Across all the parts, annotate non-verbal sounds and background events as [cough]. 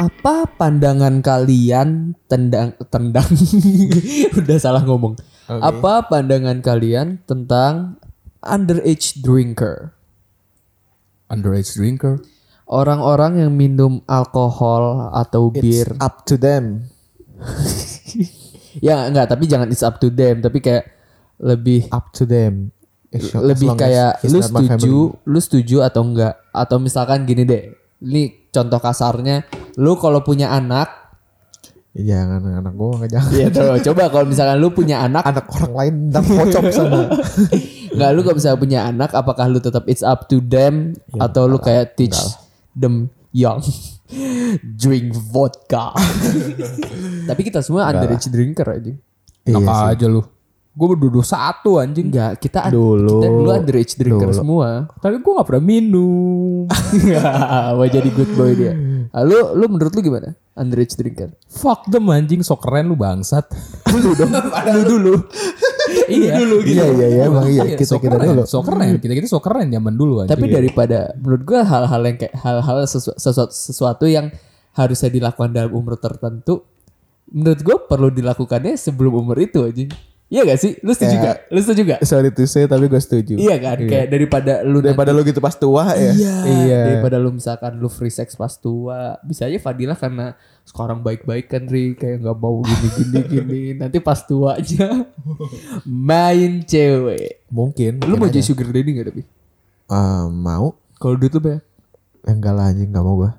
apa pandangan kalian tendang tendang [laughs] udah salah ngomong. Apa pandangan kalian tentang underage drinker? Underage drinker. Orang-orang yang minum alkohol atau bir. It's up to them. Ya enggak, tapi jangan it's up to them, tapi kayak lebih Up to them. As long- lebih as long as kayak he's lu not my setuju, family. lu setuju atau enggak? Atau misalkan gini deh, ini contoh kasarnya, lu kalau punya anak, Ya, Jangan anak gua nggak jangan. Iya ya tuh, coba kalau misalkan lu punya anak, Anak orang lain dan kocok [laughs] sana. enggak lu kalau misalkan punya anak, apakah lu tetap it's up to them atau lu kayak teach them young [laughs] drink [laughs] vodka? Tapi kita semua underage drinker aja. Iya Apa sih. aja lu? Gue berdua satu anjing. Enggak, kita Dulu. kita dulu underage drinker Dulu. semua. Tapi gue gak pernah minum. [laughs] Wah jadi good boy dia. Ah, Lu lu menurut lu gimana? Underage drinker. Fuck them anjing. So keren lu bangsat. Lu dong. lu dulu. iya. Dulu Iya iya iya emang iya kita so kita keren, dulu. So keren. Kita kita so keren zaman dulu anjing. Tapi Iya. daripada menurut gua hal-hal yang kayak hal-hal sesu- sesuatu, sesuatu yang harusnya dilakukan dalam umur tertentu menurut gua perlu dilakukannya sebelum umur itu aja. Iya gak sih? Lu setuju gak? Lu setuju [laughs] gak? Sorry to say tapi gue setuju. Iya kan? Kayak daripada lu nanti- Daripada lu gitu pas tua ya. Iya. Iya. Daripada lu misalkan lu free sex pas tua, bisa aja Fadila karena sekarang baik-baik kan Ri kayak nggak mau gini-gini [laughs] gini. Nanti pas tuanya [laughs] main cewek. Mungkin. Lu mau jadi sugar daddy gak tapi? Eh, mau? Kalau duit lu banyak. Eh, Enggak lah anjing nggak mau gue.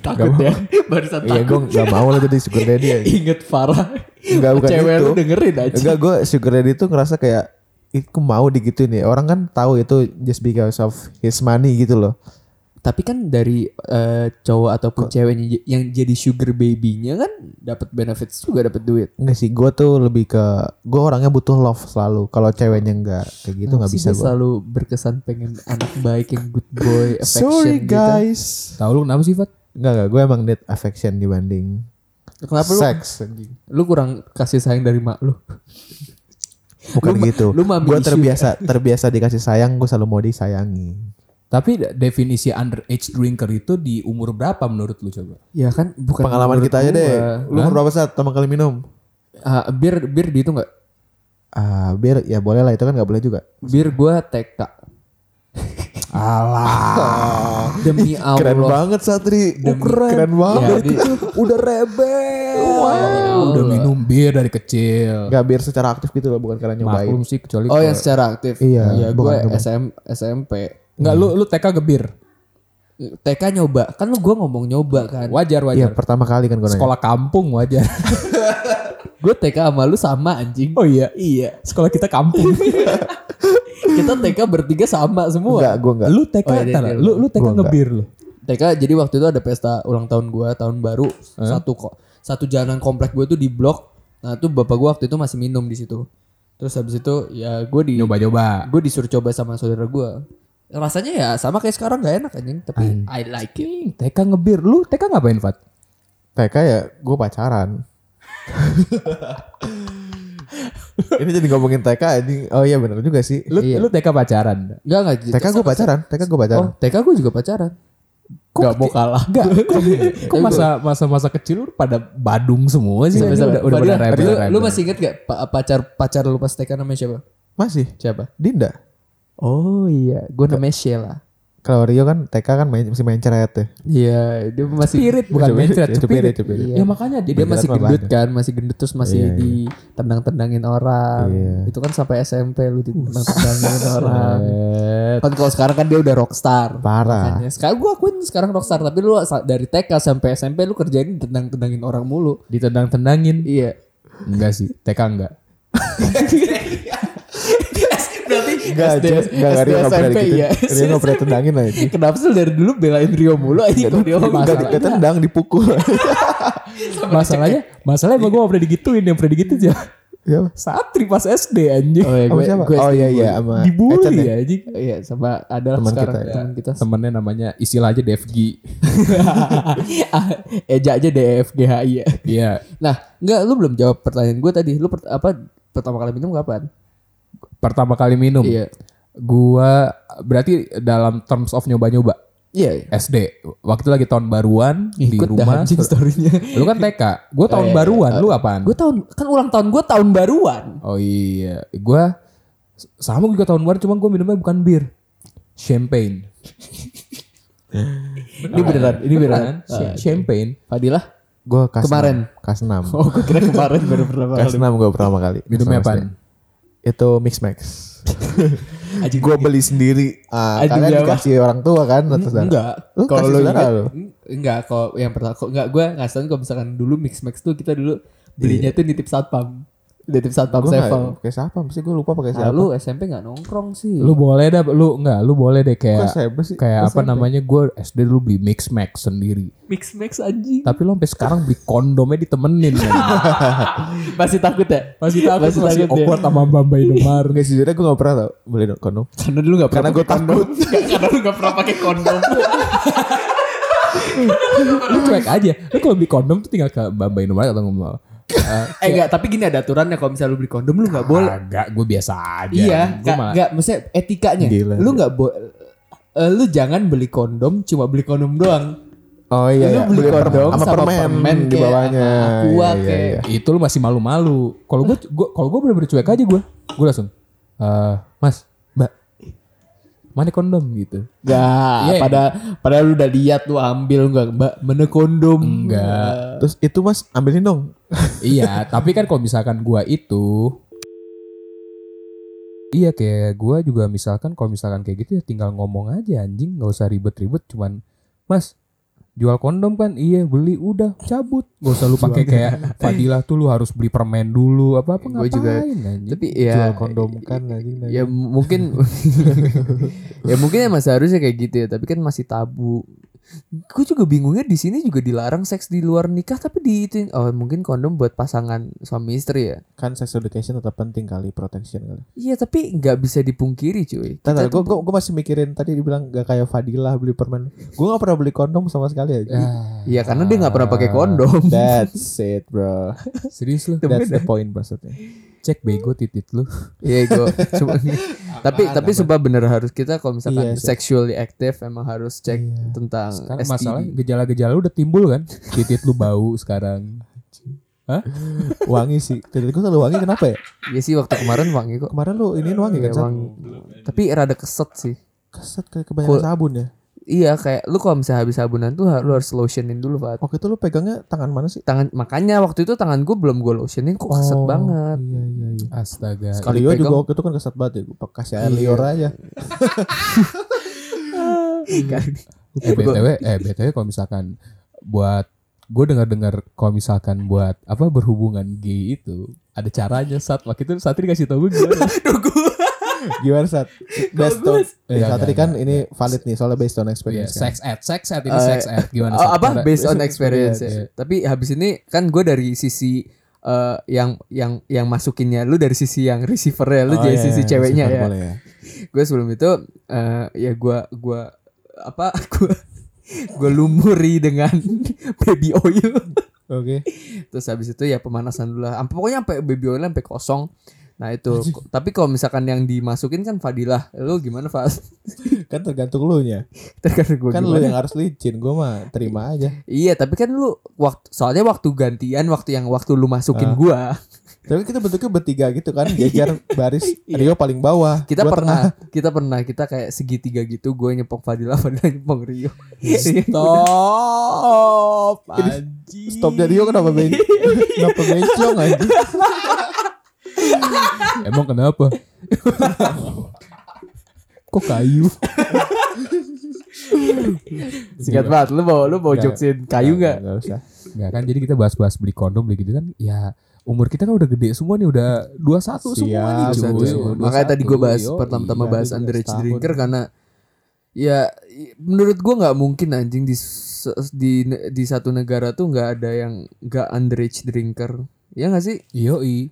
Takut ya. [laughs] Barusan Iya gue takut. nggak mau lah jadi sugar daddy. ya. [laughs] Ingat Farah. Enggak, bukan Cewek itu. lu dengerin aja. Enggak gue sugar daddy tuh ngerasa kayak "Ih, kok mau digituin ya orang kan tahu itu just because of his money gitu loh Tapi kan dari eh, cowok ataupun ceweknya j- yang jadi sugar baby-nya kan dapat benefits juga dapat duit. Enggak sih gue tuh lebih ke gue orangnya butuh love selalu kalau ceweknya enggak kayak gitu nggak Sih bisa dia gue selalu berkesan pengen anak baik yang good boy [laughs] affection gitu. guys Tahu lu kenapa sih Fat? Enggak enggak gue emang need affection dibanding Kenapa lu seks anjing lu kurang kasih sayang dari mak lu? Lu bukan ma- gitu lu mami gue issue. terbiasa terbiasa dikasih sayang gue selalu mau disayangi Tapi de- definisi underage drinker itu di umur berapa menurut lu coba? Ya kan bukan pengalaman menurut kita aja gua. deh lu umur berapa saat pertama kali minum Ah, bir bir di itu enggak? ah bir ya boleh lah itu kan nggak boleh juga Bir gua TK. [laughs] alah [laughs] Demi Ya Allah. Keren banget Satri. Oh, keren. keren banget. Ya, di- Udah rebel. Wow. Udah minum bir dari kecil. Gak biar secara aktif gitu loh bukan karena nyobain. Maklum sih kecuali oh, yang secara aktif. Iya, Ya bukan gua SM, SMP. Enggak lu lu TK gebir. TK nyoba. Kan lu gua ngomong nyoba kan. Wajar Iya wajar. pertama kali kan gue nanya. Sekolah kampung wajar. Gue TK sama lu sama anjing. oh iya. Iya. Sekolah kita kampung. Kita TK bertiga sama semua. Enggak gue enggak. Lu TK Oh, iya, ntar, iya, iya. lu lu TK Gua enggak. ngebir lu. TK jadi waktu itu ada pesta ulang tahun gua tahun baru satu kok satu jalanan komplek gue tuh di blok nah tuh bapak gua waktu itu masih minum di situ terus habis itu ya gue di Nyoba-nyoba. gue disuruh coba sama saudara gua rasanya ya sama kayak sekarang nggak enak anjing tapi I like it Ih, TK ngebir. Lu TK ngapain, Fat? TK ya gue pacaran. Ini jadi ngomongin TK anjing. Oh iya benar juga sih. Lu lu TK pacaran. nggak nggak gitu. TK gue pacaran, TK gue oh pacaran. TK gue juga pacaran nggak mau kalah Enggak. Kok, kok masa masa masa kecil lu pada badung semua sih? Sabar, Ini sabar. Udah udah pada Fadil, rebel. Iya, lu- rebel. lu masih inget gak pa- pacar pacar lu pas TK namanya siapa Masih siapa Dinda. oh iya gue namanya Sheila Kalau Rio kan TK kan main, masih main ceret ya. Iya, dia masih Spirit, bukan Coba- mencret, coba- spirit. coba- coba. Iya. Ya makanya dia, dia dia masih mah gendut kan, masih gendut terus masih ditendang-tendangin orang. Iya. Itu kan sampai SMP lu [laughs] ditendang-tendangin orang. Eh, Kan kalau sekarang kan dia udah rockstar. Parah. Makanya. Sekarang gua akuin sekarang rockstar, tapi lu sa- dari TK sampai SMP lu kerjain tendang-tendangin orang mulu. ditendang-tendangin. Iya. Enggak sih, TK enggak. Berarti Enggak, SD, Jet. enggak, enggak, Rio enggak pernah SMP gitu. ya. Rio enggak pernah [laughs] tendangin aja. Kenapa sih lu dari dulu belain Rio mulu aja kalau dia ngomong Enggak masalah. ditendang, dipukul. Masalahnya, masalahnya emang gue gak pernah digituin, yang pernah digituin ya. Iya. Satri pas SD anjing. Oh iya, Sama gue, siapa? gue oh iya iya sama Echan ya? Dibully ya? anjing. Iya, sama adalah Teman sekarang kita, ya. teman kita [laughs] Temennya namanya istilah aja DFG. Ah, Eja aja DFGHI ya. Iya, Nah, enggak lu belum jawab pertanyaan gue tadi. Lu per- apa pertama kali minum kapan? pertama kali minum. Iya. Gua berarti dalam terms of nyoba-nyoba. Iya. SD. Waktu lagi tahun baruan di Ikut dah rumah. anjing story-nya. Nah. Lu kan TK. Gue tahun iya, baruan, lu apaan? Gue tahun kan ulang tahun gue tahun baruan. Oh iya, gue sama juga tahun baru, cuma gue minumnya bukan bir, champagne. Ini beneran, ini beneran. Ah, Sh- champagne. Fadilah Gue kas Kemarin. Kas 6. Oh, gue kira kemarin baru pertama Kas kali. 6 gue pertama kali. Minumnya Sama apaan? SD. Itu Mix Max. gue beli sendiri. Ah, Aduh, kalian ya, dikasih orang tua kan? atau saudara? Enggak. Lu Kalau kasih lu saudara ingat- lu? enggak kalau yang pertama kok enggak gue ngasih tau kalau misalkan dulu mix max tuh kita dulu belinya tuh nitip satpam. Nitip satpam Gue Sevel. Iya. nggak pakai siapa? Mesti gue lupa pakai Nah, siapa. lu SMP enggak nongkrong sih. Lu boleh dah, lu enggak, lu boleh deh Kok kayak siapa sih? kayak apa Siapa? namanya gue SD dulu beli mix max sendiri. mix max anjing. Tapi lo sampai sekarang beli kondomnya ditemenin. [laughs] kan? Masih takut ya? Masih takut, masih, takut ya? awkward sama [laughs] Bamba Indomaret. Enggak sejujurnya gue gak pernah tau Boleh dong kondom Karena dulu gak pernah Karena gue [laughs] takut Karena lu gak pernah pakai [laughs] kondom lu cuek aja. Lu kalau beli kondom tuh tinggal ke Bamba Indomaret atau ngomong. Eh enggak tapi gini ada aturannya Kalau misalnya lu beli kondom Lu gak boleh Agak, gue biasa aja. Iya, Gua nggak malah- nggak maksudnya etikanya. Gila. Lu nggak bo- eh, lu jangan beli kondom cuma beli kondom doang. Oh iya Lu iya. beli Beli kondom sama permen, di kayak, bawahnya sama aqua Iya, iya, kayak. iya. itu lu masih malu-malu. Kalau gue, gua, kalau gue bener-bener cuek aja gue. Gue langsung, "Eh, Mas, Mbak, mana kondom gitu? Nggak, Iya, iya. pada pada Ya, lu udah lihat lu ambil enggak Mbak, mana kondom? Enggak. Terus itu mas ambilin dong iya, tapi kan kalau misalkan gue itu, iya kayak gue juga misalkan kalau misalkan kayak gitu ya tinggal ngomong aja anjing, nggak usah ribet-ribet. Cuman, Mas, jual kondom kan iya beli udah cabut gak usah lu pakai kayak Fadilah tuh lu harus beli permen dulu apa apa Gua ngapain juga- anjing. Tapi ya Jual kondom kan lagi lagi. ya mungkin [laughs] ya mungkin emang seharusnya kayak gitu ya tapi kan masih tabu gue juga bingungnya di sini juga dilarang seks di luar nikah tapi di itu oh mungkin kondom buat pasangan suami istri ya Kan sex education tetap penting kali Protection kali iya tapi nggak bisa dipungkiri cuy Tadi gue gue gue masih mikirin tadi dibilang gak kayak Fadilah beli permen. Gue gak pernah beli kondom sama sekali [laughs] aja. Ah, Iya karena dia nggak pernah pakai Ah. kondom. [laughs] That's it bro. serius lu That's the point maksudnya. cek bego titit lu Iya gue. [laughs] Cuma- tapi tapi sumpah bener harus kita kalau misalkan Iya, sih. Iya. sexually active emang harus cek tentang Sekarang STD. masalah gejala-gejala udah timbul kan? Titit lu bau sekarang. Hah? Wangi sih. Jadi gue selalu wangi kenapa ya? Iya sih waktu kemarin wangi kok. Kemarin lu ini wangi kan? Iya, Sat? wangi. Tapi rada keset sih. Keset kayak Kul- kebanyakan sabun ya. Iya kayak lu kalau misalnya habis sabunan tuh lu harus lotionin dulu Pak. Waktu itu lu pegangnya tangan mana sih? Tangan makanya waktu itu tangan gue belum gue lotionin kok keset Oh, banget. Iya iya iya. Astaga. Sekali Leo pegang. juga waktu itu kan keset banget ya. Gua kasih Iya. air liur aja. Iya. [laughs] Kan? Eh BTW, eh BTW kalau misalkan buat gue dengar-dengar kalau misalkan buat apa berhubungan gay itu ada caranya saat waktu itu saat dikasih tau gue gimana? [laughs] Gimana [laughs] Sat? Based on. Iya, Sat iya, kan iya. ini valid nih soalnya based on Iya, experience. kan. sex ed, sex ed ini sex ed gimana? Oh, Sat? apa Cara- based on experience. ya. Iya. Tapi habis ini kan gue dari sisi eh, yang yang yang masukinnya lu dari sisi yang receivernya lu Oh, jadi iya, sisi iya, ceweknya receiver ya. boleh gue sebelum itu eh ya gue gua apa [laughs] gue gue lumuri dengan [laughs] baby oil Oke. terus habis itu ya pemanasan dulu lah Ampe- pokoknya sampai baby oil sampai kosong nah itu Ko- tapi kalau misalkan yang dimasukin kan Fadilah lu gimana [laughs] Fas Kan tergantung lu nya. terkadang gue Kan lu gimana yang harus licin. Gue mah terima aja. iya tapi kan lu waktu soalnya waktu gantian waktu yang waktu lu Ah. masukin gua Tapi kita bentuknya bertiga gitu kan, jajar [laughs] baris Rio paling bawah. Iya. kita gua pernah kita pernah kita kayak segitiga gitu gue nyepong [laughs] Fadilah Fadilah nyepong Rio Iya. Iya. Stop. Ini- tengah. anjing. Stop dari Rio kenapa ben? kenapa bencong aja? Emang kenapa? [laughs] Kok kayu? singkat banget lu mau lu mau Nggak. jokesin kayu nggak Enggak usah. Nggak kan jadi kita bahas-bahas beli kondom beli gitu kan ya umur kita kan udah gede semua nih udah 21 semua nih Siap, cuy. siap, siap. Udah Makanya tadi 21, gue bahas yoi. pertama-tama iya, bahas dia juga underage setahun. drinker karena ya i- menurut gue nggak mungkin anjing di se- di ne- di satu negara tuh nggak ada yang nggak underage drinker. Ya nggak sih? Yoi.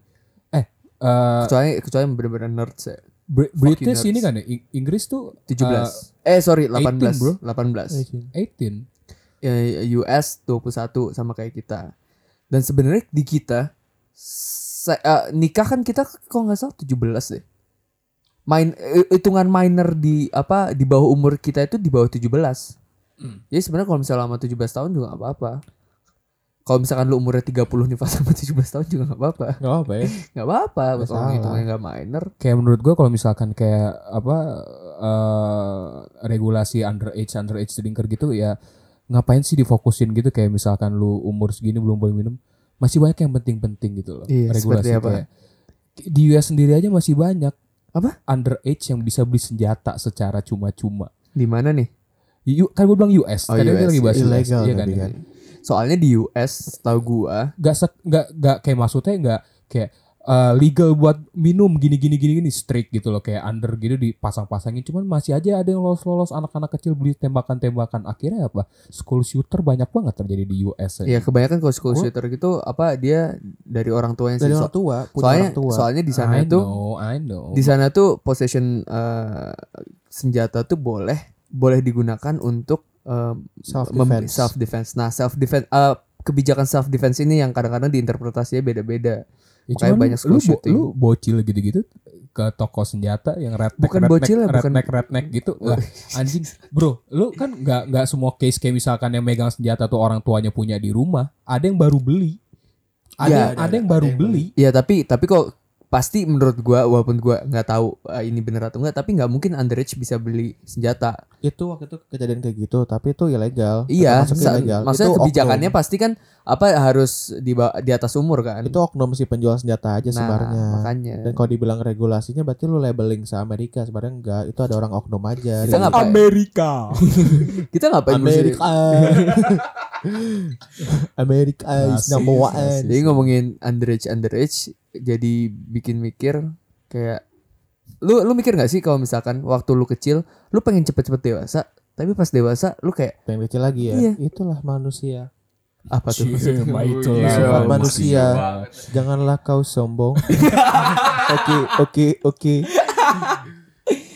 Eh eh, Kecuali kecuali yang bener-bener nerds ya. Br- British nerds. ini kan ya Ing- Inggris tuh 17. eh sorry 18. 18, bro. 18. eh, 18. Ya, US 21 sama kayak kita. Dan sebenarnya di kita se- eh, nikah kan kita kok nggak salah 17 deh. Main eh, hitungan minor di apa di bawah umur kita itu di bawah 17. Jadi sebenarnya kalau misalnya sama 17 tahun juga nggak apa-apa. Kalau misalkan lu umurnya 30 nikah sama 17 tahun juga nggak apa-apa. Gak apa ya. Nggak apa-apa, Nggak betul orang salah. hitungnya nggak minor. [laughs] Kayak menurut gua kalau misalkan kayak apa eh, regulasi underage underage drinker gitu ya ngapain sih difokusin gitu kayak misalkan lu umur segini belum boleh minum masih banyak yang penting-penting gitu loh Iya, seperti apa? kayak di US sendiri aja masih banyak Apa? underage yang bisa beli senjata secara cuma-cuma Di mana nih? Yuk, kan gue bilang US, Oh, tadi kita US, lagi bahas illegal US, iya kan? tadi kan. Soalnya di US, tahu gua, Gak, sek- gak, gak kayak maksudnya gak kayak eh, legal buat minum gini gini gini gini strict gitu loh kayak under gitu dipasang-pasangin cuman masih aja ada yang lolos-lolos anak-anak kecil beli tembakan-tembakan akhirnya apa school shooter banyak banget terjadi di US ya. ya kebanyakan kalau school Gua- shooter gitu apa dia dari orang tuanya Dari sih. orang So- tua, punya soalnya orang tua. soalnya di sana I itu know, I know. di sana tuh possession eh, senjata tuh boleh boleh digunakan untuk eh, Self mem- defense. self defense. Nah, self defense kebijakan self defense ini yang kadang-kadang diinterpretasinya beda-beda. Ya, makanya banyak lu, school lu, bo- shooting. lu bocil gitu-gitu ke toko senjata yang redneck Bukan redneck, bocil ya, bukan- Eh, redneck, redneck gitu Wah, anjing bro lu kan nggak nggak semua case kayak misalkan yang megang senjata tuh orang tuanya punya di rumah ada yang baru beli ada Ya, yang, ada, yang baru beli [laughs] Iya, tapi tapi kok pasti menurut gua walaupun gua nggak tahu eh, ini bener atau enggak, tapi nggak mungkin underage bisa beli senjata. itu waktu itu kejadian kayak gitu, tapi itu ilegal. Iya, Tetap masuk sa- ilegal. maksudnya Itu kebijakannya oknum. pasti kan apa harus di ba- di atas umur kan. itu oknum si penjual senjata nah, aja sebenarnya. makanya. Dan kalau dibilang regulasinya berarti lu labeling sama Amerika sebenarnya enggak. Itu ada orang oknum aja. Kita nggak Amerika Kita ngapain mesti- Amerika. [laughs] Amerika is Nah, Rasis, number one. Iya Jadi ngomongin underage underage jadi bikin mikir kayak lu lu mikir gak sih kalau misalkan waktu lu kecil lu pengen cepet-cepet dewasa tapi pas dewasa lu kayak Pengen kecil lagi ya. Iya. Itulah manusia. apa iya, tuh Iya, Soal manusia. Janganlah kau [laughs] sombong. Oke, oke, oke.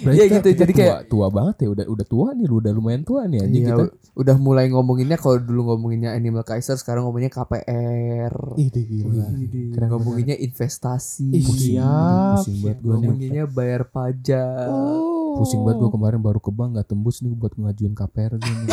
Iya gitu, jadi kayak- tua, tua banget ya udah udah tua nih lu udah lumayan tua nih anjing Iya, kita u- udah mulai ngomonginnya kalau dulu ngomonginnya Animal Kaiser sekarang ngomonginnya KPR Ide gila. Keren iya, ngomonginnya investasi Ih, pusing. siap. pusing banget gue nih ngomonginnya bayar pajak pusing banget gue kemarin baru ke bank nggak tembus nih buat ngajuin KPR gue nih.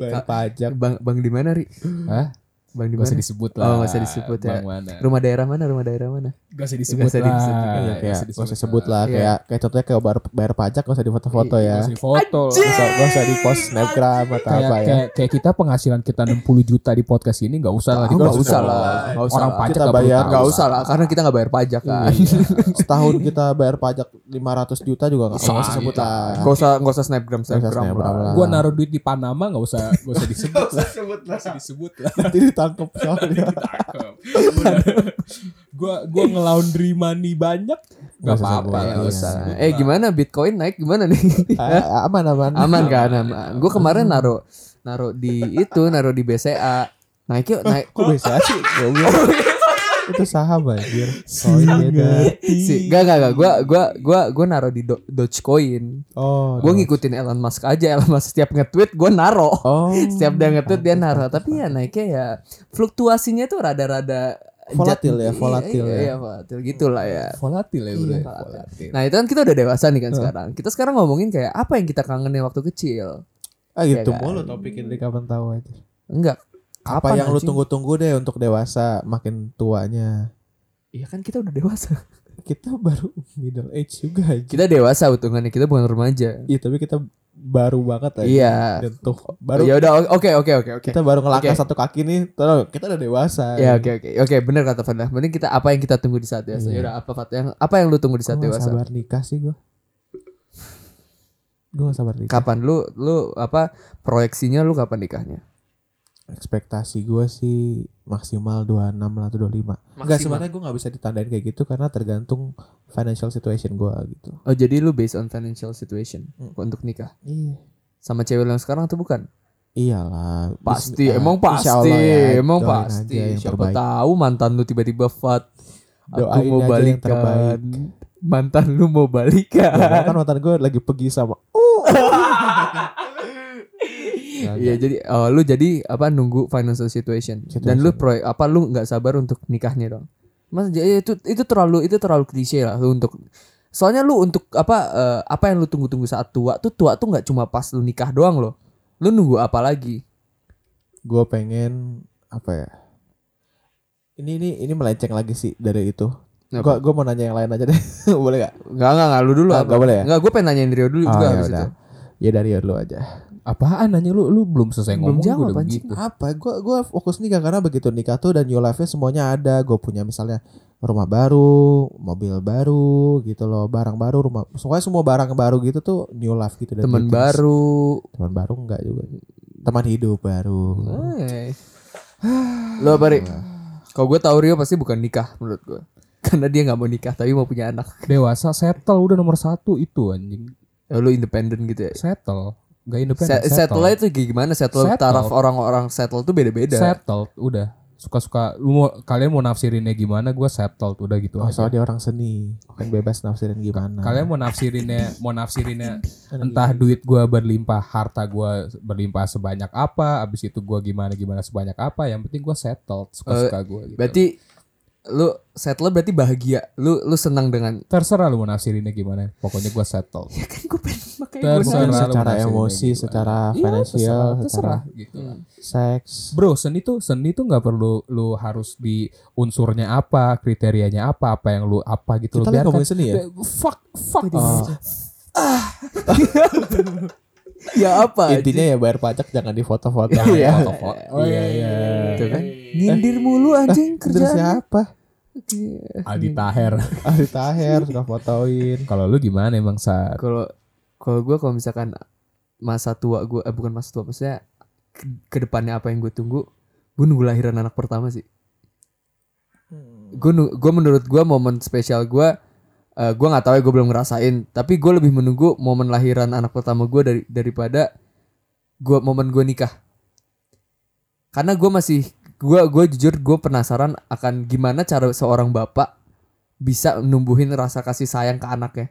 Bayar pajak. bang bang di mana ri Hah? bang di mana Gak usah disebut Oh, lah. nggak usah disebut ya. Bang mana. rumah daerah mana rumah daerah mana Gak usah disebut usah lah. disebut. ya. Iya, Nggak kayak usah gak usah sebut lah Iya. kayak kayak contohnya kayak bayar, bayar pajak gak usah di foto-foto Nggak ya. usah di foto. Gak usah, gak usah di post snapgram atau Kayak, apa ya. kayak, kayak kita penghasilan kita 60 juta di podcast ini gak usah lah. Ah, nggak Gak usah lah nggak usah Orang lah. pajak Kita nggak perlu bayar, tahu nggak lah. usah lah karena kita nggak bayar pajak kan Setahun kita bayar pajak 500 juta juga gak Iya, usah sebut iya. lah. Gak usah gak usah snapgram Gak usah snapgram, snapgram lah. lah. Iya, Gue naruh duit di Panama gak usah gak usah disebut lah. Gak usah disebut lah. Nanti ditangkep soalnya. Gue gue ngelaundry money banyak. Nggak Gak usah apa-apa sebut, lah. iya. nggak usah disebut Eh lah. gimana Bitcoin naik gimana [laughs] nih? Ah, aman aman. aman kan aman. Gue kemarin naruh naruh di itu naruh di BCA naik yuk naik Kok bisa [laughs] sih? [laughs] Oh, Goblok. Itu saham anjir. Oh, iya, Koin beda. si gak gak gak gue gua gua gua naruh di Do- Dogecoin Oh. gue ngikutin Elon Musk aja [laughs] Elon Musk setiap nge-tweet gue naro Oh. setiap dia nge-tweet dia naro tapi ya naiknya ya fluktuasinya tuh rada-rada Volatil jat- ya, volatil iya, ya. iya, volatil gitulah ya Volatil ya udah. volatil. Volatil. Nah itu kan kita udah dewasa nih kan sekarang. Kita sekarang ngomongin kayak apa yang kita kangenin waktu kecil. Ah gitu Iya kan? mulu topiknya dari kapan tahu aja. Enggak. Apa yang lu anjing? tunggu-tunggu deh untuk dewasa makin tuanya. Iya kan kita udah dewasa. Kita [laughs] baru middle age juga [laughs] aja. Kita dewasa hitungannya kita bukan remaja. Iya tapi kita baru banget aja. Iya. Nyentuh. Baru Ya udah o- oke oke oke oke. kita baru ngelangkah Oke. satu kaki nih. Terus kita udah dewasa. Ya oke oke oke benar kata Fadlah. Mending kita apa yang kita tunggu di saat dewasa. Iya. Ya udah apa Fat yang apa yang lu tunggu di saat Gua nggak dewasa? sabar nikah sih gua. Gua gak sabar nikah. Kapan lu lu apa proyeksinya lu kapan nikahnya? Ekspektasi gua sih maksimal 26 lah atau 25. Enggak sebenarnya gua nggak bisa ditandain kayak gitu karena tergantung financial situation gua gitu. Oh jadi lu based on financial situation Hmm. untuk nikah. Iya. Sama cewek lu yang sekarang tuh bukan? Iyalah. Pasti, Bismi- emang ah, insya pasti, Allah ya, emang doain pasti. aja yang Siapa terbaik. tahu mantan lu tiba-tiba fat. aku Doain mau aja yang balikan. [laughs] terbaik. Mantan lu mau Padahal balikan. kan mantan gue lagi pergi sama Iya, jadi oh, lu jadi apa nunggu financial situation. Dan Situation. lu proyek apa lu nggak sabar untuk nikahnya dong. Mas jadi itu itu terlalu itu terlalu klise lah lu untuk Soalnya lu untuk apa eh, apa yang lu tunggu-tunggu saat tua tuh tua tuh nggak cuma pas lu nikah doang loh. Lu nunggu apa lagi? gue pengen apa ya ini ini ini melenceng lagi sih dari itu gue Apa? gue mau nanya yang lain aja deh [laughs] boleh gak Enggak, enggak, enggak. Lu dulu Ah, apa? nggak boleh ya? Ah, Enggak, gue pengen nanyain Rio dulu juga habis itu. ya dari lu aja Apaan nanya lu? Lu belum selesai Belum ngomong gua jawab, udah anjing. begitu. Gitu. apa gue gue fokus nikah karena begitu nikah tuh dan new life nya semuanya ada gue punya misalnya rumah baru mobil baru gitu loh barang baru rumah pokoknya semua barang baru gitu tuh new life gitu dan Temen greetings. baru. teman baru enggak juga teman hidup baru Hmm. Hai. Lu apa, Ri? Kalau gue tahu Rio pasti bukan nikah menurut gue. [laughs] Karena dia nggak mau nikah tapi mau punya anak. Dewasa settle udah nomor satu itu anjing. Ya, lu independen gitu ya. Settle. Gak independen. Se- Settle settle. itu kayak gimana? Settle, Settle. taraf orang-orang settle tuh beda-beda. Settled udah. Suka-suka lu mau, kalian mau nafsirinnya gimana? Gua settled udah gitu oh aja. soalnya dia orang seni kan bebas nafsirin gimana Kalian mau nafsirinnya, mau nafsirinnya entah duit gua berlimpah, harta gua berlimpah sebanyak apa, abis itu gua gimana gimana sebanyak apa, yang penting gua settled Eh, suka-suka gua gitu. Berarti lu settle berarti bahagia. Lu lu senang dengan [laughs] terserah lu mau nafsirinnya gimana, pokoknya gua settled. ya kan gue pengen makanya Ter- gua- Mungkin Terserah lu Kan secara mau nafsirin emosi kayak gimana. secara Iya, finansial terserah, secara Hmm. terserah gitu. lah. seks Bro, seni tuh seni tuh nggak perlu lu harus di unsurnya apa, kriterianya apa, apa yang lu apa gitu kita lu lagi biarkan. ngomongin seni ya Fuck, fuck. Ah, Oh, [laughs] ya apa? intinya ya bayar pajak jangan difoto-foto ya Iya. Iya, iya. Gitu kan. Nyindir mulu anjing terus kerjaan. Iya. siapa Aldi Taher. Aldi Taher suka fotoin Kalau lu gimana emang saat? Kalau kalau gue kalau misalkan masa tua gue eh, bukan masa tua maksudnya ke- kedepannya apa yang gue tunggu gue nunggu lahiran anak pertama sih gue gue menurut gue momen spesial gue eh gue nggak tahu ya gue belum ngerasain tapi gue lebih menunggu momen lahiran anak pertama gue dari daripada gue momen gue nikah karena gue masih gue gue jujur gue penasaran akan gimana cara seorang bapak bisa numbuhin rasa kasih sayang ke anaknya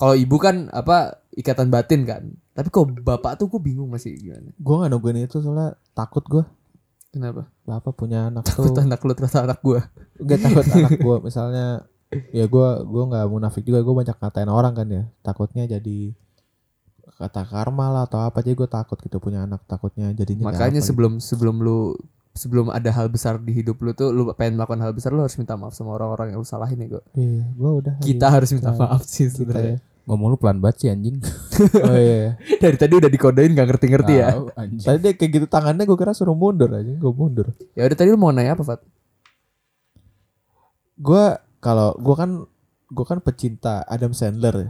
kalau ibu kan apa ikatan batin kan tapi kalau bapak tuh gue bingung masih gimana gue gak nungguin itu soalnya takut gue kenapa bapak punya anak takut tuh anak lu ternyata anak gue gak [laughs] takut anak gue misalnya ya gue gue nggak munafik juga gue banyak ngatain orang kan ya takutnya jadi kata karma lah atau apa jadi gue takut gitu punya anak takutnya jadinya kayak Makanya apa gitu. sebelum sebelum lu sebelum ada hal besar di hidup lu tuh lu pengen melakukan hal besar lu harus minta maaf sama orang-orang yang lu salahin ya gue. gitu. iya gue udah Kita harus minta maaf sih kita ya. sebenarnya. Ngomong lu pelan banget sih anjing. oh iya iya. [laughs] Dari tadi udah dikodein gak ngerti-ngerti ya. Tahu, anjing. tadi dia kayak gitu tangannya gue kira suruh mundur aja gue mundur Ya udah tadi lu mau nanya apa, Fat? gue kalau gue kan gue kan pecinta Adam Sandler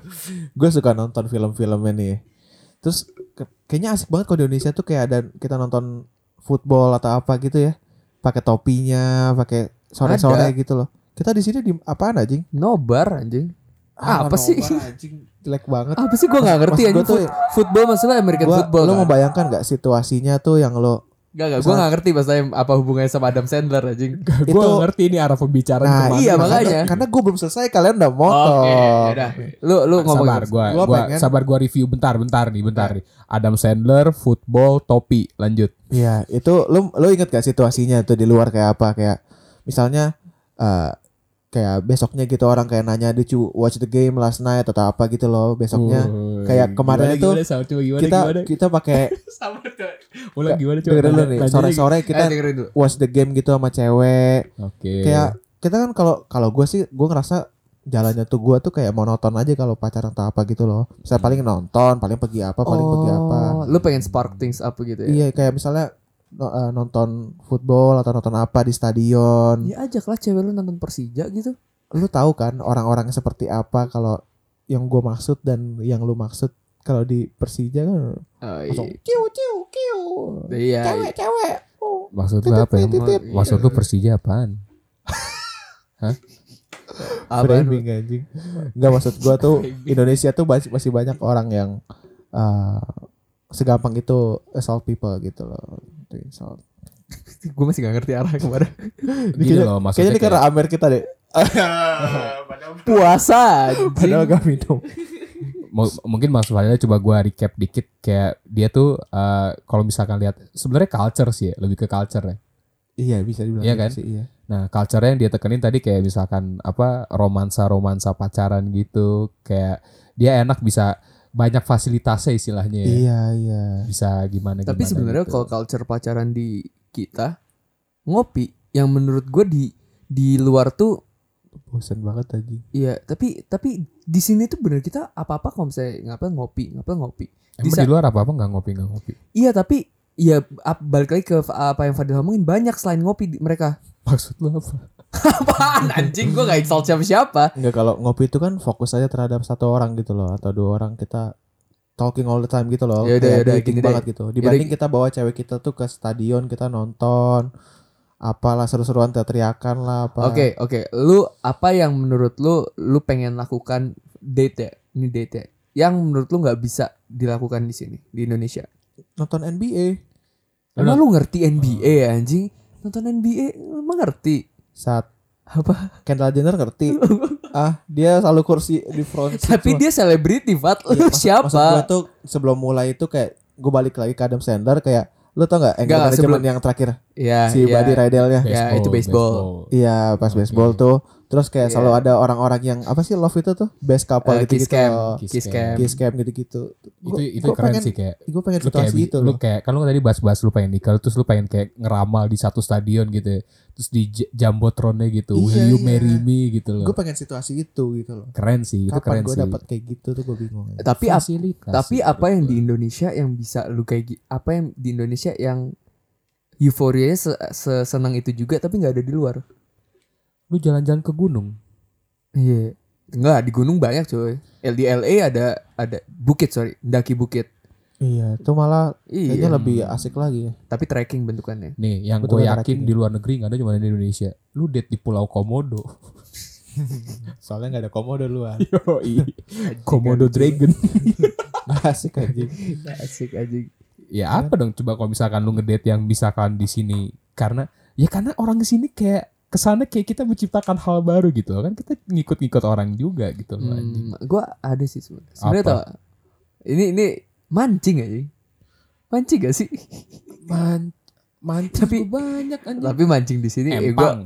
[laughs] gue suka nonton film-filmnya nih terus ke- kayaknya asik banget kalau di Indonesia tuh kayak ada kita nonton football atau apa gitu ya pakai topinya pakai sore-sore gitu loh kita di sini di apaan anjing Nobar anjing. Apa Ah, nobar, sih? [laughs] anjing jelek banget Apa sih gua gak ngerti Maksud anjing. gua tuh- Fut- football maksudnya American gua, football. lo Kan? membayangkan nggak situasinya tuh yang lo Gak, gak, gue gak ngerti maksudnya apa hubungannya sama Adam Sandler anjing. Gua itu- nggak ngerti ini arah pembicaraan kemana. iya, makanya. Nah, makanya karena gue belum selesai kalian udah motong Oke, ya yaudah. Lu Kan lu ngomong sabar gua, Gua gua, pengen- sabar gua review bentar bentar nih bentar Nah. nih. Adam Sandler football topi lanjut. Iya, itu lu lu inget gak situasinya tuh di luar kayak apa kayak misalnya eh kayak besoknya gitu orang kayak nanya did you watch the game last night atau apa gitu loh besoknya kayak kemarin itu Oh, kita kita pakai ulang gimana coba dengerin dulu nih sore-sore kita kita dengerin dulu. watch the game gitu sama cewek Oke. kayak kita kan kalau kalau gue sih gue ngerasa jalannya tuh gue tuh kayak monoton aja kalau pacaran atau apa gitu loh misalnya paling nonton paling pergi apa paling pergi apa Oh, lu pengen spark things up gitu ya. iya kayak misalnya no- eh, nonton football atau nonton apa di stadion Ya ajaklah cewek lu nonton Persija gitu. lu tahu kan orang-orang seperti apa kalau yang gue maksud dan yang lu maksud kalau di Persija kan Oh, langsung Iya. kiu kiu kiu Iya. cewek cewek oh. maksud lu apa ya? Titit, titit. Maksud lu Persija apaan? Apa? framing anjing nggak maksud gue tuh Indonesia tuh masih, masih banyak orang yang eh, segampang itu assault people gitu loh Itu insult. Gue masih gak ngerti arah kemana. Gini kayaknya- loh kayaknya maksudnya. ini karena Amer kita deh [laughs] Puasa. anjing. padahal gak minum kayak- mu- mungkin maksudnya coba gua recap dikit kayak dia tuh eh, kalau misalkan lihat sebenarnya culture sih ya, lebih ke culture ya. iya bisa dibilang Iya gitu kan? sih, iya. Nah, culture yang dia tekenin tadi kayak misalkan apa romansa-romansa pacaran gitu, kayak dia enak bisa banyak fasilitasnya istilahnya ya. Iya iya. Bisa gitu. gimana Tapi sebenarnya kalau culture pacaran di kita ngopi yang menurut gue di di luar tuh Bosan banget aja. Iya, tapi tapi di sini tuh bener kita apa-apa kalau misalnya ngapa ngopi, ngapa ngopi. Emang bisa- di luar apa-apa nggak ngopi nggak ngopi. Iya, tapi ya ap- balik lagi ke apa yang Fadil omongin banyak selain ngopi di- [laughs] mereka. Maksud lu apa? Apaan anjing gue gak insult siapa-siapa. Enggak kalau ngopi itu kan fokus aja terhadap satu orang gitu loh atau dua orang kita talking all the time gitu loh. Yaudah, Kayak yaudah, dating gini deh. banget gitu. Dibanding kita bawa cewek kita tuh ke stadion kita nonton apalah seru-seruan teriakan lah apa. Oke, oke. Lu apa yang menurut lu lu pengen lakukan date ya? Ini date ya. Yang menurut lu nggak bisa dilakukan di sini di Indonesia. Nonton NBA Emang lu ngerti NBA Oh. ya, anjing? Nonton NBA emang ngerti saat [laughs] apa? Kendall Jenner ngerti. [laughs] ah, dia selalu kursi di front seat Tapi cuma- dia selebriti, Fat. Iya, Lu maksud- Maksud gue siapa? tuh sebelum mulai itu kayak gue balik lagi ke Adam Sandler kayak lu tau gak angle Nggak, dari sebelum- zaman yang terakhir Ya, si ya. Buddy Rydellnya [laughs] Ya, itu baseball. iya pas Oke. baseball tuh terus kayak Iya. selalu ada orang-orang yang apa sih love itu tuh best couple Eh, gitu kiss gitu cam, Kiss kiss cam. cam. kiss cam gitu gitu Itu itu keren sih kayak gue pengen lu kayak situasi bi- gitu itu lu loh kayak kan lu tadi bahas-bahas lu pengen nikah terus lu pengen kayak ngeramal di satu stadion gitu ya. terus di j- jambotronnya gitu Iya, will you iya. marry me gitu loh gue pengen situasi itu gitu loh keren sih itu kapan keren gue sih dapat kayak gitu tuh gue bingung aja. Tapi apa? Fasilitas Tapi sih, apa menurut yang gua. di Indonesia yang bisa lu kayak gi- apa yang di Indonesia yang euforianya se- sesenang itu juga tapi nggak ada di luar. lu jalan-jalan ke gunung Iya. Enggak, di gunung banyak coy. LDLA ada ada bukit sorry, daki bukit. iya itu malah Iya. kayaknya lebih asik lagi ya Tapi trekking bentukannya. nih yang Betul gue banget, yakin Rakitic. di luar negeri nggak ada cuma di Indonesia lu date di Pulau Komodo [laughs] soalnya gak ada komodo [laughs] luar Komodo Dragon [laughs] asik aja Asik aja. ya apa dong coba kalau misalkan lu ngedate yang misalkan di sini karena ya karena orang di sini kayak kesana kayak kita menciptakan hal baru gitu loh kan kita ngikut-ngikut orang juga gitu loh anjing. Hmm, gua ada sih sebenarnya. Sebenarnya Apa? tau, ini ini mancing aja. Mancing gak sih? Man, mantap Tapi- banyak Tapi mancing di sini eh, gua Empang.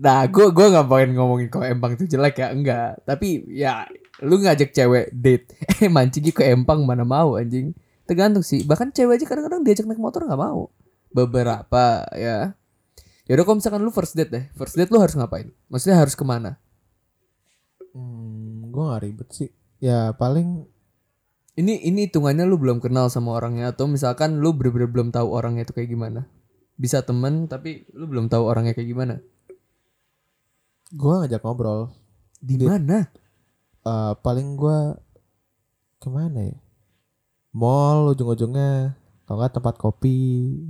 Nah, gue gua nggak pengen ngomongin kalau empang itu jelek ya, enggak. Tapi ya lu ngajak cewek date, [laughs] eh mancingnya ke empang mana mau anjing. Tergantung sih. Bahkan cewek aja kadang-kadang diajak naik motor nggak mau. Beberapa ya. Ya udah kalau misalkan lu first date deh, first date lu harus ngapain? Maksudnya harus kemana? hmm, gue gak ribet sih ya paling Ini ini hitungannya lu belum kenal sama orangnya atau misalkan lu bener-bener belum tahu orangnya itu kayak gimana? Bisa temen tapi lu belum tahu orangnya kayak gimana? gue ngajak ngobrol Di Di- mana? Eh, paling gua kemana ya mall ujung-ujungnya kalau nggak tempat kopi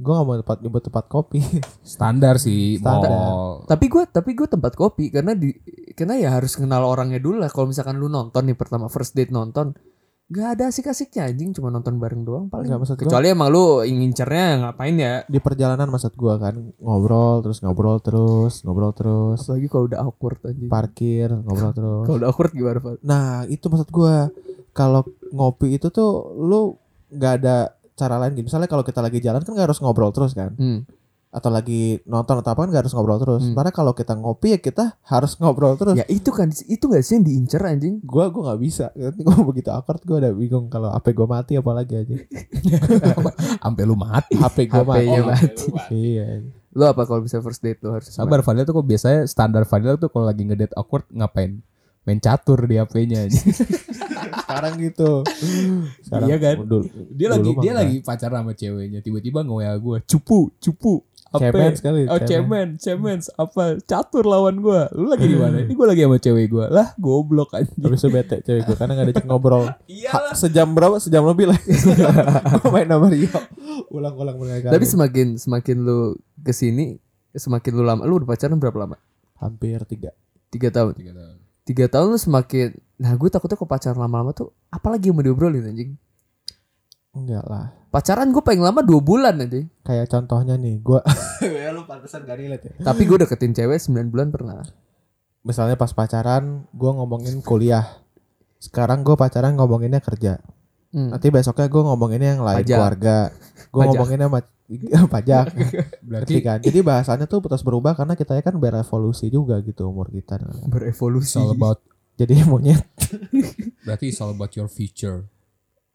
gua nggak mau tempat nyebut tempat kopi [laughs] standar sih Standar. mall Tapi gue tapi gue tempat kopi karena di karena ya harus kenal orangnya dulu lah. Kalau misalkan lu nonton nih pertama first date nonton, nggak ada asik-asiknya anjing cuma nonton bareng doang paling. Nggak, maksud gua- Kecuali emang lu ngincernya ngapain ya? di perjalanan maksud gua kan ngobrol terus ngobrol terus ngobrol terus Apalagi kalau udah awkward anjing. parkir ngobrol terus Kalau udah awkward gimana Pak? nah itu maksud gua kalau ngopi itu tuh lu nggak ada cara lain gitu misalnya kalau kita lagi jalan kan nggak harus ngobrol terus kan Hmm. atau lagi nonton atau apa kan nggak harus ngobrol terus Hmm. karena kalau kita ngopi ya kita harus [laughs] ngobrol terus Ya itu kan itu gak sih yang diincer anjing? gue gue nggak bisa [laughs] nanti gue begitu awkward gue udah bingung kalau HP gue mati apalagi aja sampai lu mati HP gue mati HP-nya Oh, mati. iya Lu apa kalau bisa first date lu harus sabar Fadil tuh kok biasanya standar Fadil tuh kalau lagi ngedate awkward ngapain main catur di HP-nya aja. sekarang gitu sekarang Iya kan? dulu- [laughs] dia dulu lagi mah dia enggak. lagi pacaran sama ceweknya tiba-tiba nge-WA gue cupu cupu apa cemen sekali oh cemen Hmm. cemen apa catur lawan gue lu lagi di mana ini gue lagi sama cewek gue lah goblok aja tapi bete cewek gue karena gak diajak ngobrol Ha, Iyalah. sejam berapa sejam lebih [laughs] lah gue main sama Rio ulang-ulang berkali Tapi semakin semakin lu kesini semakin lu lama lu udah pacaran berapa lama? hampir tiga Tiga tahun. gitu. tiga tahun lu semakin nah gue takutnya kok pacaran lama-lama tuh apalagi yang mau diobrolin anjing enggak lah pacaran gue paling lama dua bulan anjing kayak contohnya nih [laughs] gue ya lu pantesan gak relate ya tapi gue deketin cewek 9 bulan pernah misalnya pas pacaran gue ngomongin kuliah sekarang gue pacaran ngomonginnya kerja Hmm. Nanti besoknya gue ngomonginnya yang lain Pajak. keluarga. Gue Pajak. ngomonginnya sama [laughs] pajak. Ngerti berarti kan? Jadi bahasannya tuh terus berubah karena kita kan berevolusi juga gitu umur kita. berevolusi [laughs] it's all about Jadi maunya berarti it's all about your future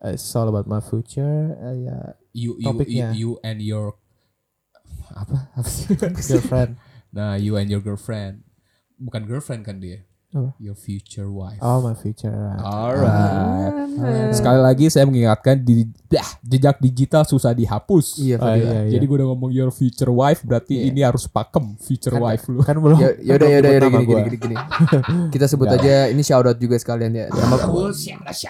uh, it's all about my future uh, ya you you, you Topiknya. you and your apa apa sih [laughs] girlfriend nah you and your girlfriend bukan girlfriend kan dia Apa? your future wife oh my future right. alright sekali lagi saya mengingatkan di dah, jejak digital susah dihapus Iya, Oh, Fadila. iya, iya. Jadi gue udah ngomong your future wife berarti ini harus pakem future wife lu. kan belum [laughs] Ya yaudah belum yaudah nyebut yaudah nama gini, gini gua. gini gini. Kita sebut aja ini shout out juga sekalian ya. Sama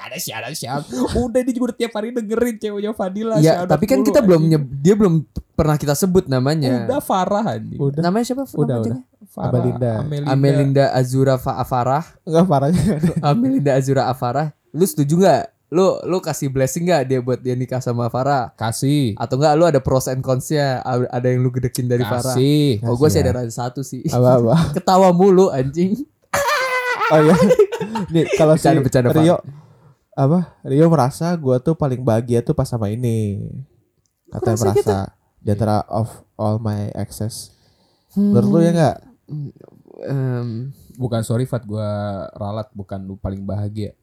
Udah ini juga udah tiap hari dengerin ceweknya Fadila. ya, shout out tapi kan mulu, kita belum anjing. nyeb- dia belum pernah kita sebut namanya. Udah Farah anjing. udah Namanya siapa? Nama Udah, panjangnya? Farah, Amelinda. Amelinda. Amelinda Azura Fa- Afarah. enggak parahnya [laughs] Amelinda Azura Afarah. Lu setuju nggak? Lu lu kasih blessing nggak dia buat dia nikah sama Farah? Kasih. Atau enggak lu ada pros and consnya? A- Ada yang lu gedekin dari Farah? Kasih. Oh gue sih Kasih ya. ada rasa satu sih. apa apa Ketawa mulu anjing. [laughs] oh ya nih kalau si Bercanda, bercanda, Pak. Rio apa Rio merasa gue tuh paling bahagia tuh pas sama ini kata merasa gitu? di antara of all my exes menurut Hmm. lu ya nggak Em, Bukan sorry Fat gue ralat bukan lu paling bahagia.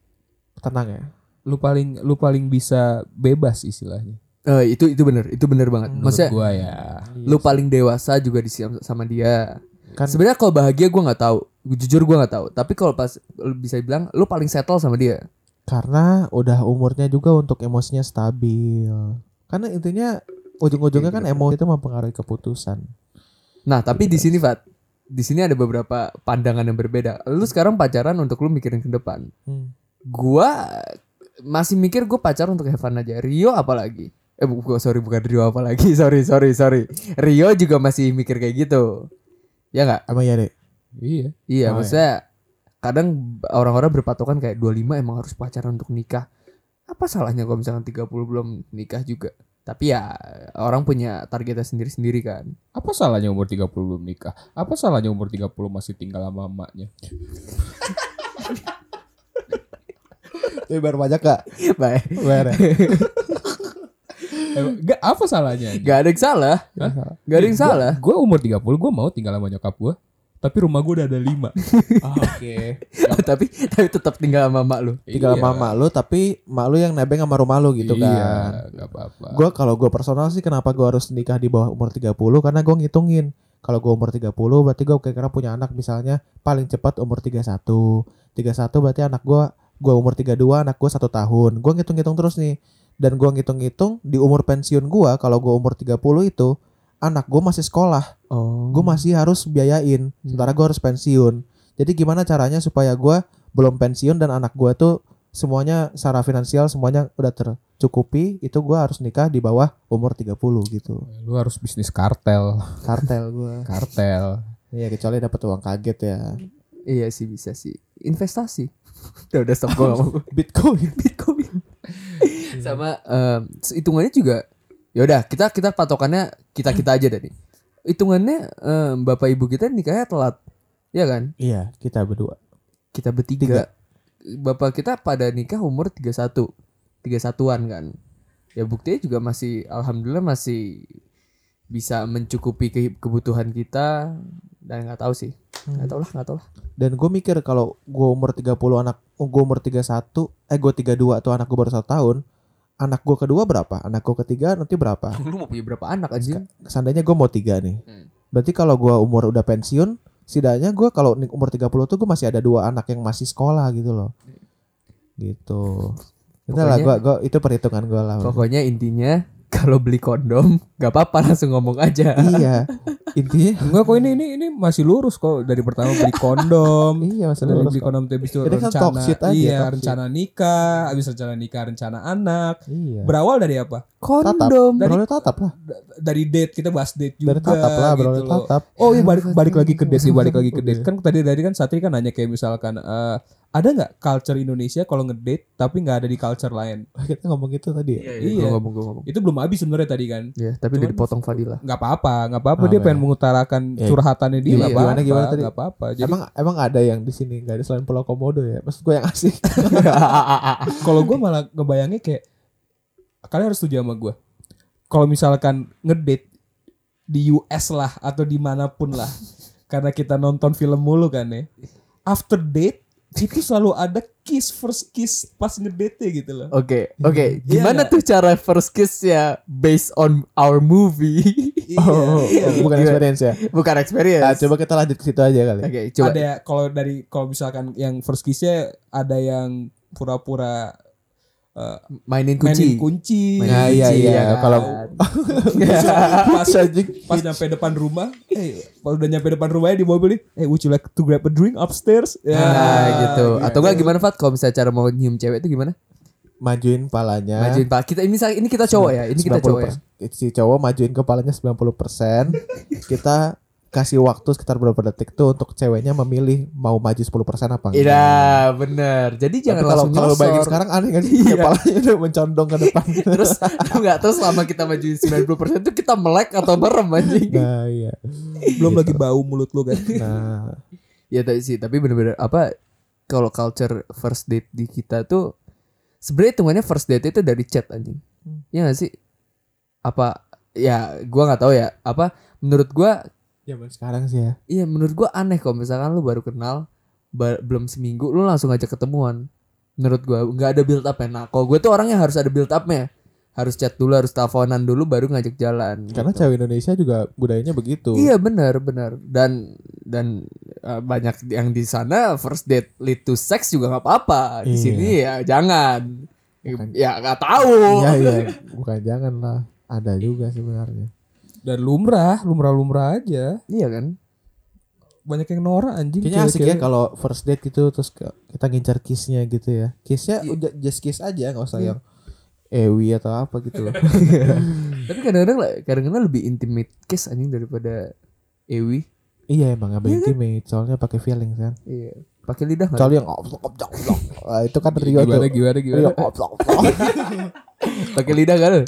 tenang ya Lu paling lu paling bisa bebas istilahnya. eh, itu itu bener itu bener banget. Maksudnya Gue ya. lu paling dewasa juga di siam- sama dia. Kan- Sebenarnya kalau bahagia gue nggak tahu, jujur gue nggak tahu. Tapi kalau pas lu bisa bilang lu paling settle sama dia. karena udah umurnya juga untuk emosinya stabil karena intinya ujung-ujungnya Iya, kan emosi itu mempengaruhi keputusan Nah tapi di sini Fat, di sini ada beberapa pandangan yang berbeda. Lu sekarang pacaran untuk lu mikirin ke depan. Hmm. Gua masih mikir gue pacaran untuk Evan aja. Rio apalagi? Eh bu, gua- sorry bukan Rio apalagi. [laughs] Sorry sorry sorry. Rio juga masih mikir kayak gitu. Ya nggak? emang ya dek Iya. Iya, Oh, maksudnya kadang orang-orang berpatokan kayak 25 emang harus pacaran untuk nikah. Apa salahnya kalau misalkan 30 belum nikah juga? Tapi ya orang punya targetnya sendiri-sendiri kan. [laughs] Apa salahnya umur 30 belum nikah? Apa salahnya umur 30 masih tinggal sama emaknya? tapi baru pajak kak Baik, [laughs] Bayar ya? Eh, Gak apa [laughs] salahnya? anjing? gak ada yang salah. Hah? Gak ada yang salah. [laughs] Gue umur 30 gue mau tinggal sama nyokap gue. Tapi rumah gue udah ada [laughs] 5. Oke. Iya. tapi tapi tetap tinggal sama mak lu. tinggal sama mak lu tapi mak lu yang nebeng sama rumah lu gitu kan Iya, gak apa-apa. Gue kalau gue personal sih kenapa gue harus nikah di bawah umur 30 karena gue ngitungin kalau gue umur 30 berarti gue kira-kira punya anak misalnya paling cepat umur 31. 31 berarti anak gue gue umur 32 anak gue satu tahun. Gue ngitung-ngitung terus nih. Dan gue ngitung-ngitung di umur pensiun gue kalau gue umur 30 itu anak gue masih sekolah. Oh. Gue masih harus biayain. Sementara gue harus pensiun. Jadi gimana caranya supaya gue belum pensiun dan anak gue tuh semuanya secara finansial semuanya udah tercukupi itu gua harus nikah di bawah umur 30 gitu Lu harus bisnis kartel, kartel gua kartel. Iya kecuali dapat uang kaget ya Iya sih bisa sih. Investasi. [laughs] udah udah stop gue ngomong. bitcoin Bitcoin. Sama em, hitungannya juga ya udah kita kita patokannya kita kita aja deh nih. Hitungannya em, bapak ibu kita nikahnya telat. Ya kan? [laughs] iya kita berdua Kita bertiga. Bapak kita pada nikah umur 31. 31-an kan. Ya buktinya juga masih alhamdulillah masih bisa mencukupi ke- kebutuhan kita dan nggak tahu sih. Nggak tahu lah, nggak tahu lah. dan gue mikir kalau gua umur 30 anak gue umur 31 eh gue 32 tuh anak gue baru satu tahun anak gua kedua berapa anak gua ketiga nanti berapa Lu mau punya berapa anak anjing? seandainya gue mau tiga nih. Hmm. Berarti kalau gue umur udah pensiun, setidaknya gue kalau ni- umur 30 tuh gue masih ada dua anak yang masih sekolah gitu loh. Gitu. Itu lah Pokoknya- gua, gua- itu perhitungan gue lah. Pokoknya intinya kalau beli kondom nggak apa-apa langsung ngomong aja. iya. [laughs] Intinya Enggak kok ini ini ini masih lurus kok dari pertama beli [laughs] kondom. iya Dari maksudnya beli kondom tuh habis itu Ini kan rencana talk shit aja, iya, talk shit. rencana nikah, habis rencana nikah, rencana anak. Iya. Berawal dari apa? Tatap. Kondom. Beroleh tatap lah. D- Dari date kita bahas date juga. Dari tatap lah, gitu beroleh loh. tatap. [laughs] Oh iya balik balik lagi ke date nih, balik lagi ke date. Kan tadi tadi kan Satri kan nanya kayak misalkan eh, ada nggak culture Indonesia kalau ngedate tapi nggak ada di culture lain? Kita ngomong gitu tadi. ya? iya. Gua ngomong, gua ngomong. Itu belum habis sebenarnya tadi kan. Ya, tapi udah Cuman- dipotong Fadila. nggak apa-apa nggak apa-apa Oh, dia iya. pengen mengutarakan Iya. curhatannya dia Iya, nggak gimana, apa-apa gimana tadi? nggak apa-apa jadi Emang emang ada yang di sini nggak ada selain Pulau Komodo ya? Maksud gue yang [laughs] asik. Ya, Ah, kalau gue malah ngebayangnya kayak kalian harus setuju sama gue kalau misalkan ngedate di US lah [laughs] atau dimanapun lah karena kita nonton film mulu kan ya after date itu selalu ada kiss first kiss pas ngedate gitu loh. Oke, Iya oke. Gimana nggak? tuh cara first kiss ya based on our movie? Iya. Oh, bukan iya. Gila. experience ya. [laughs] Bukan experience. Ah, coba kita lanjut ke situ aja kali. Oke, coba. Ada kalau dari kalau misalkan yang first kissnya ada yang pura-pura eh, Mainin mainin kunci. kunci. Nah, iya Iya, iya kalau [laughs] pas anjing. pas Iya. nyampe depan rumah, eh pas udah nyampe depan rumahnya di mobil nih, eh would you like to grab a drink upstairs? Ya, [laughs] Ah, Nah, gitu. Atau enggak gimana Fat kalau misalnya cara mau nyium cewek itu gimana? majuin palanya. Majuin Pak. Kita ini ini kita cowok ya. Ini kita cowok ya. 90%. Si cowok majuin [laughs] kepalanya 90%. kita kasih waktu sekitar berapa detik tuh untuk ceweknya memilih mau maju 10% apa enggak. Iya, bener. Jadi Tapi jangan kalau langsung kalau balikin nyosor. Iya. sekarang aneh [laughs] kan sih kepalanya udah mencondong ke depan. Terus [laughs] enggak terus selama kita majuin 90% itu kita melek atau merem anjing. nah, iya. Belum lagi bau mulut lu kan. Nah, Ya tapi sih, tapi bener-bener apa kalau culture first date di kita tuh sebenarnya hitungannya first date itu dari chat anjing. Iya gak sih? Apa ya gua nggak tahu ya. Apa menurut gua zaman sekarang sih ya. iya menurut gua aneh kalau misalkan lu baru kenal ba- belum seminggu lu langsung ajak ketemuan. Menurut gua nggak ada build up Nah, kalau gue tuh orangnya harus ada build up-nya. Harus chat dulu, harus teleponan dulu baru ngajak jalan. gitu. Karena cewek Indonesia juga budayanya begitu. Iya benar benar dan dan uh, banyak yang di sana first date lead to sex juga nggak apa-apa di Iya. sini ya jangan Bukan. ya nggak tahu Iya, iya. Bukan jangan lah. Ada juga sebenarnya. Dan lumrah, lumrah-lumrah aja. iya kan Banyak yang norak anjing. Kayaknya asik ya cewek-cewek. kalau first date gitu terus ke- kita ngincar kissnya gitu ya. Kissnya Iya. udah just kiss aja nggak usah yang ewi atau apa gitu [laughs] loh. tapi kadang-kadang lah- kadang-kadang lebih intimate case anjing daripada Ewi iya emang nggak kan? intimate soalnya pakai feeling kan. iya pakai lidah nggak? Kecuali yang oplok oplok oplok. Wah, itu kan Rio tuh. Gimana gimana gimana. Rio oplok oplok. pakai lidah kan lu?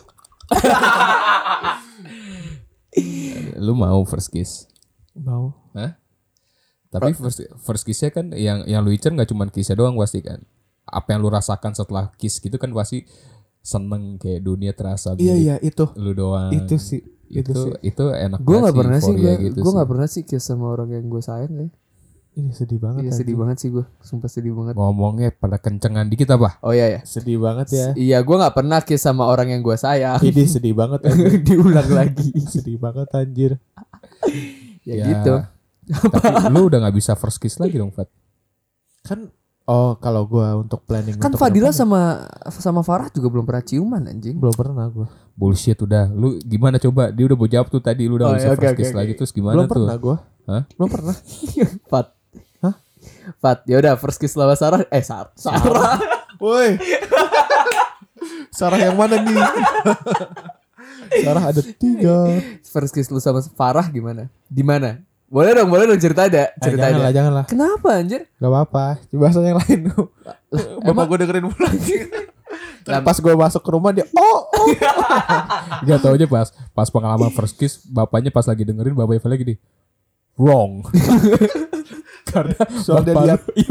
Lu mau first kiss? [laughs] Mau. Hah? Tapi first first kissnya kan yang yang lu incer nggak cuma kissnya doang pasti kan. Apa yang lu rasakan setelah kiss gitu kan pasti seneng kayak dunia terasa Iya milik iya itu. lu doang. Itu sih. itu Itu sih. itu enak. gue banget nggak pernah sih euforia gue gitu gue sih. nggak pernah sih kiss sama orang yang gue sayang ya Ini sedih banget. iya sedih anjing. banget sih gue sumpah sedih banget Ngomongnya pada kencengan dikit apa? oh iya ya Sedih banget ya. iya gue nggak pernah kiss sama orang yang gue sayang Ini sedih banget. anjing. [laughs] diulang lagi sedih banget anjir. ya, gitu [laughs] Tapi lu udah nggak bisa first kiss lagi dong, Fat. Kan oh kalau gua untuk planning Kan untuk Fadila kedepan, sama sama Farah juga belum pernah ciuman anjing. belum pernah gua. Bullshit udah. Lu gimana coba? Dia udah mau jawab tuh tadi lu Oh, udah nggak ya, bisa iya, oke, first oke, kiss oke. lagi terus gimana Belum tuh? pernah gua. Hah? Belum pernah. [laughs] Fat. Hah? Fat, ya udah first kiss sama Sarah. Eh Sar Sarah. Woi. Sarah yang mana nih? Sarah ada tiga. first kiss lu sama Farah gimana? Di mana? Boleh dong, boleh dong cerita ada, cerita Eh, jangan ada. lah, jangan lah. Kenapa anjir? Gak apa-apa. Coba bahasa yang lain. Bapak gue dengerin [laughs] mulu anjing. Terus Pas gue masuk ke rumah dia, oh, oh. Gak tau aja pas pas pengalaman first kiss bapaknya pas lagi dengerin bapaknya Fela gini [laughs] wrong. [laughs] Karena Soalnya dia bapak lihat. lu- Iya.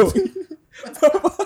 bapak,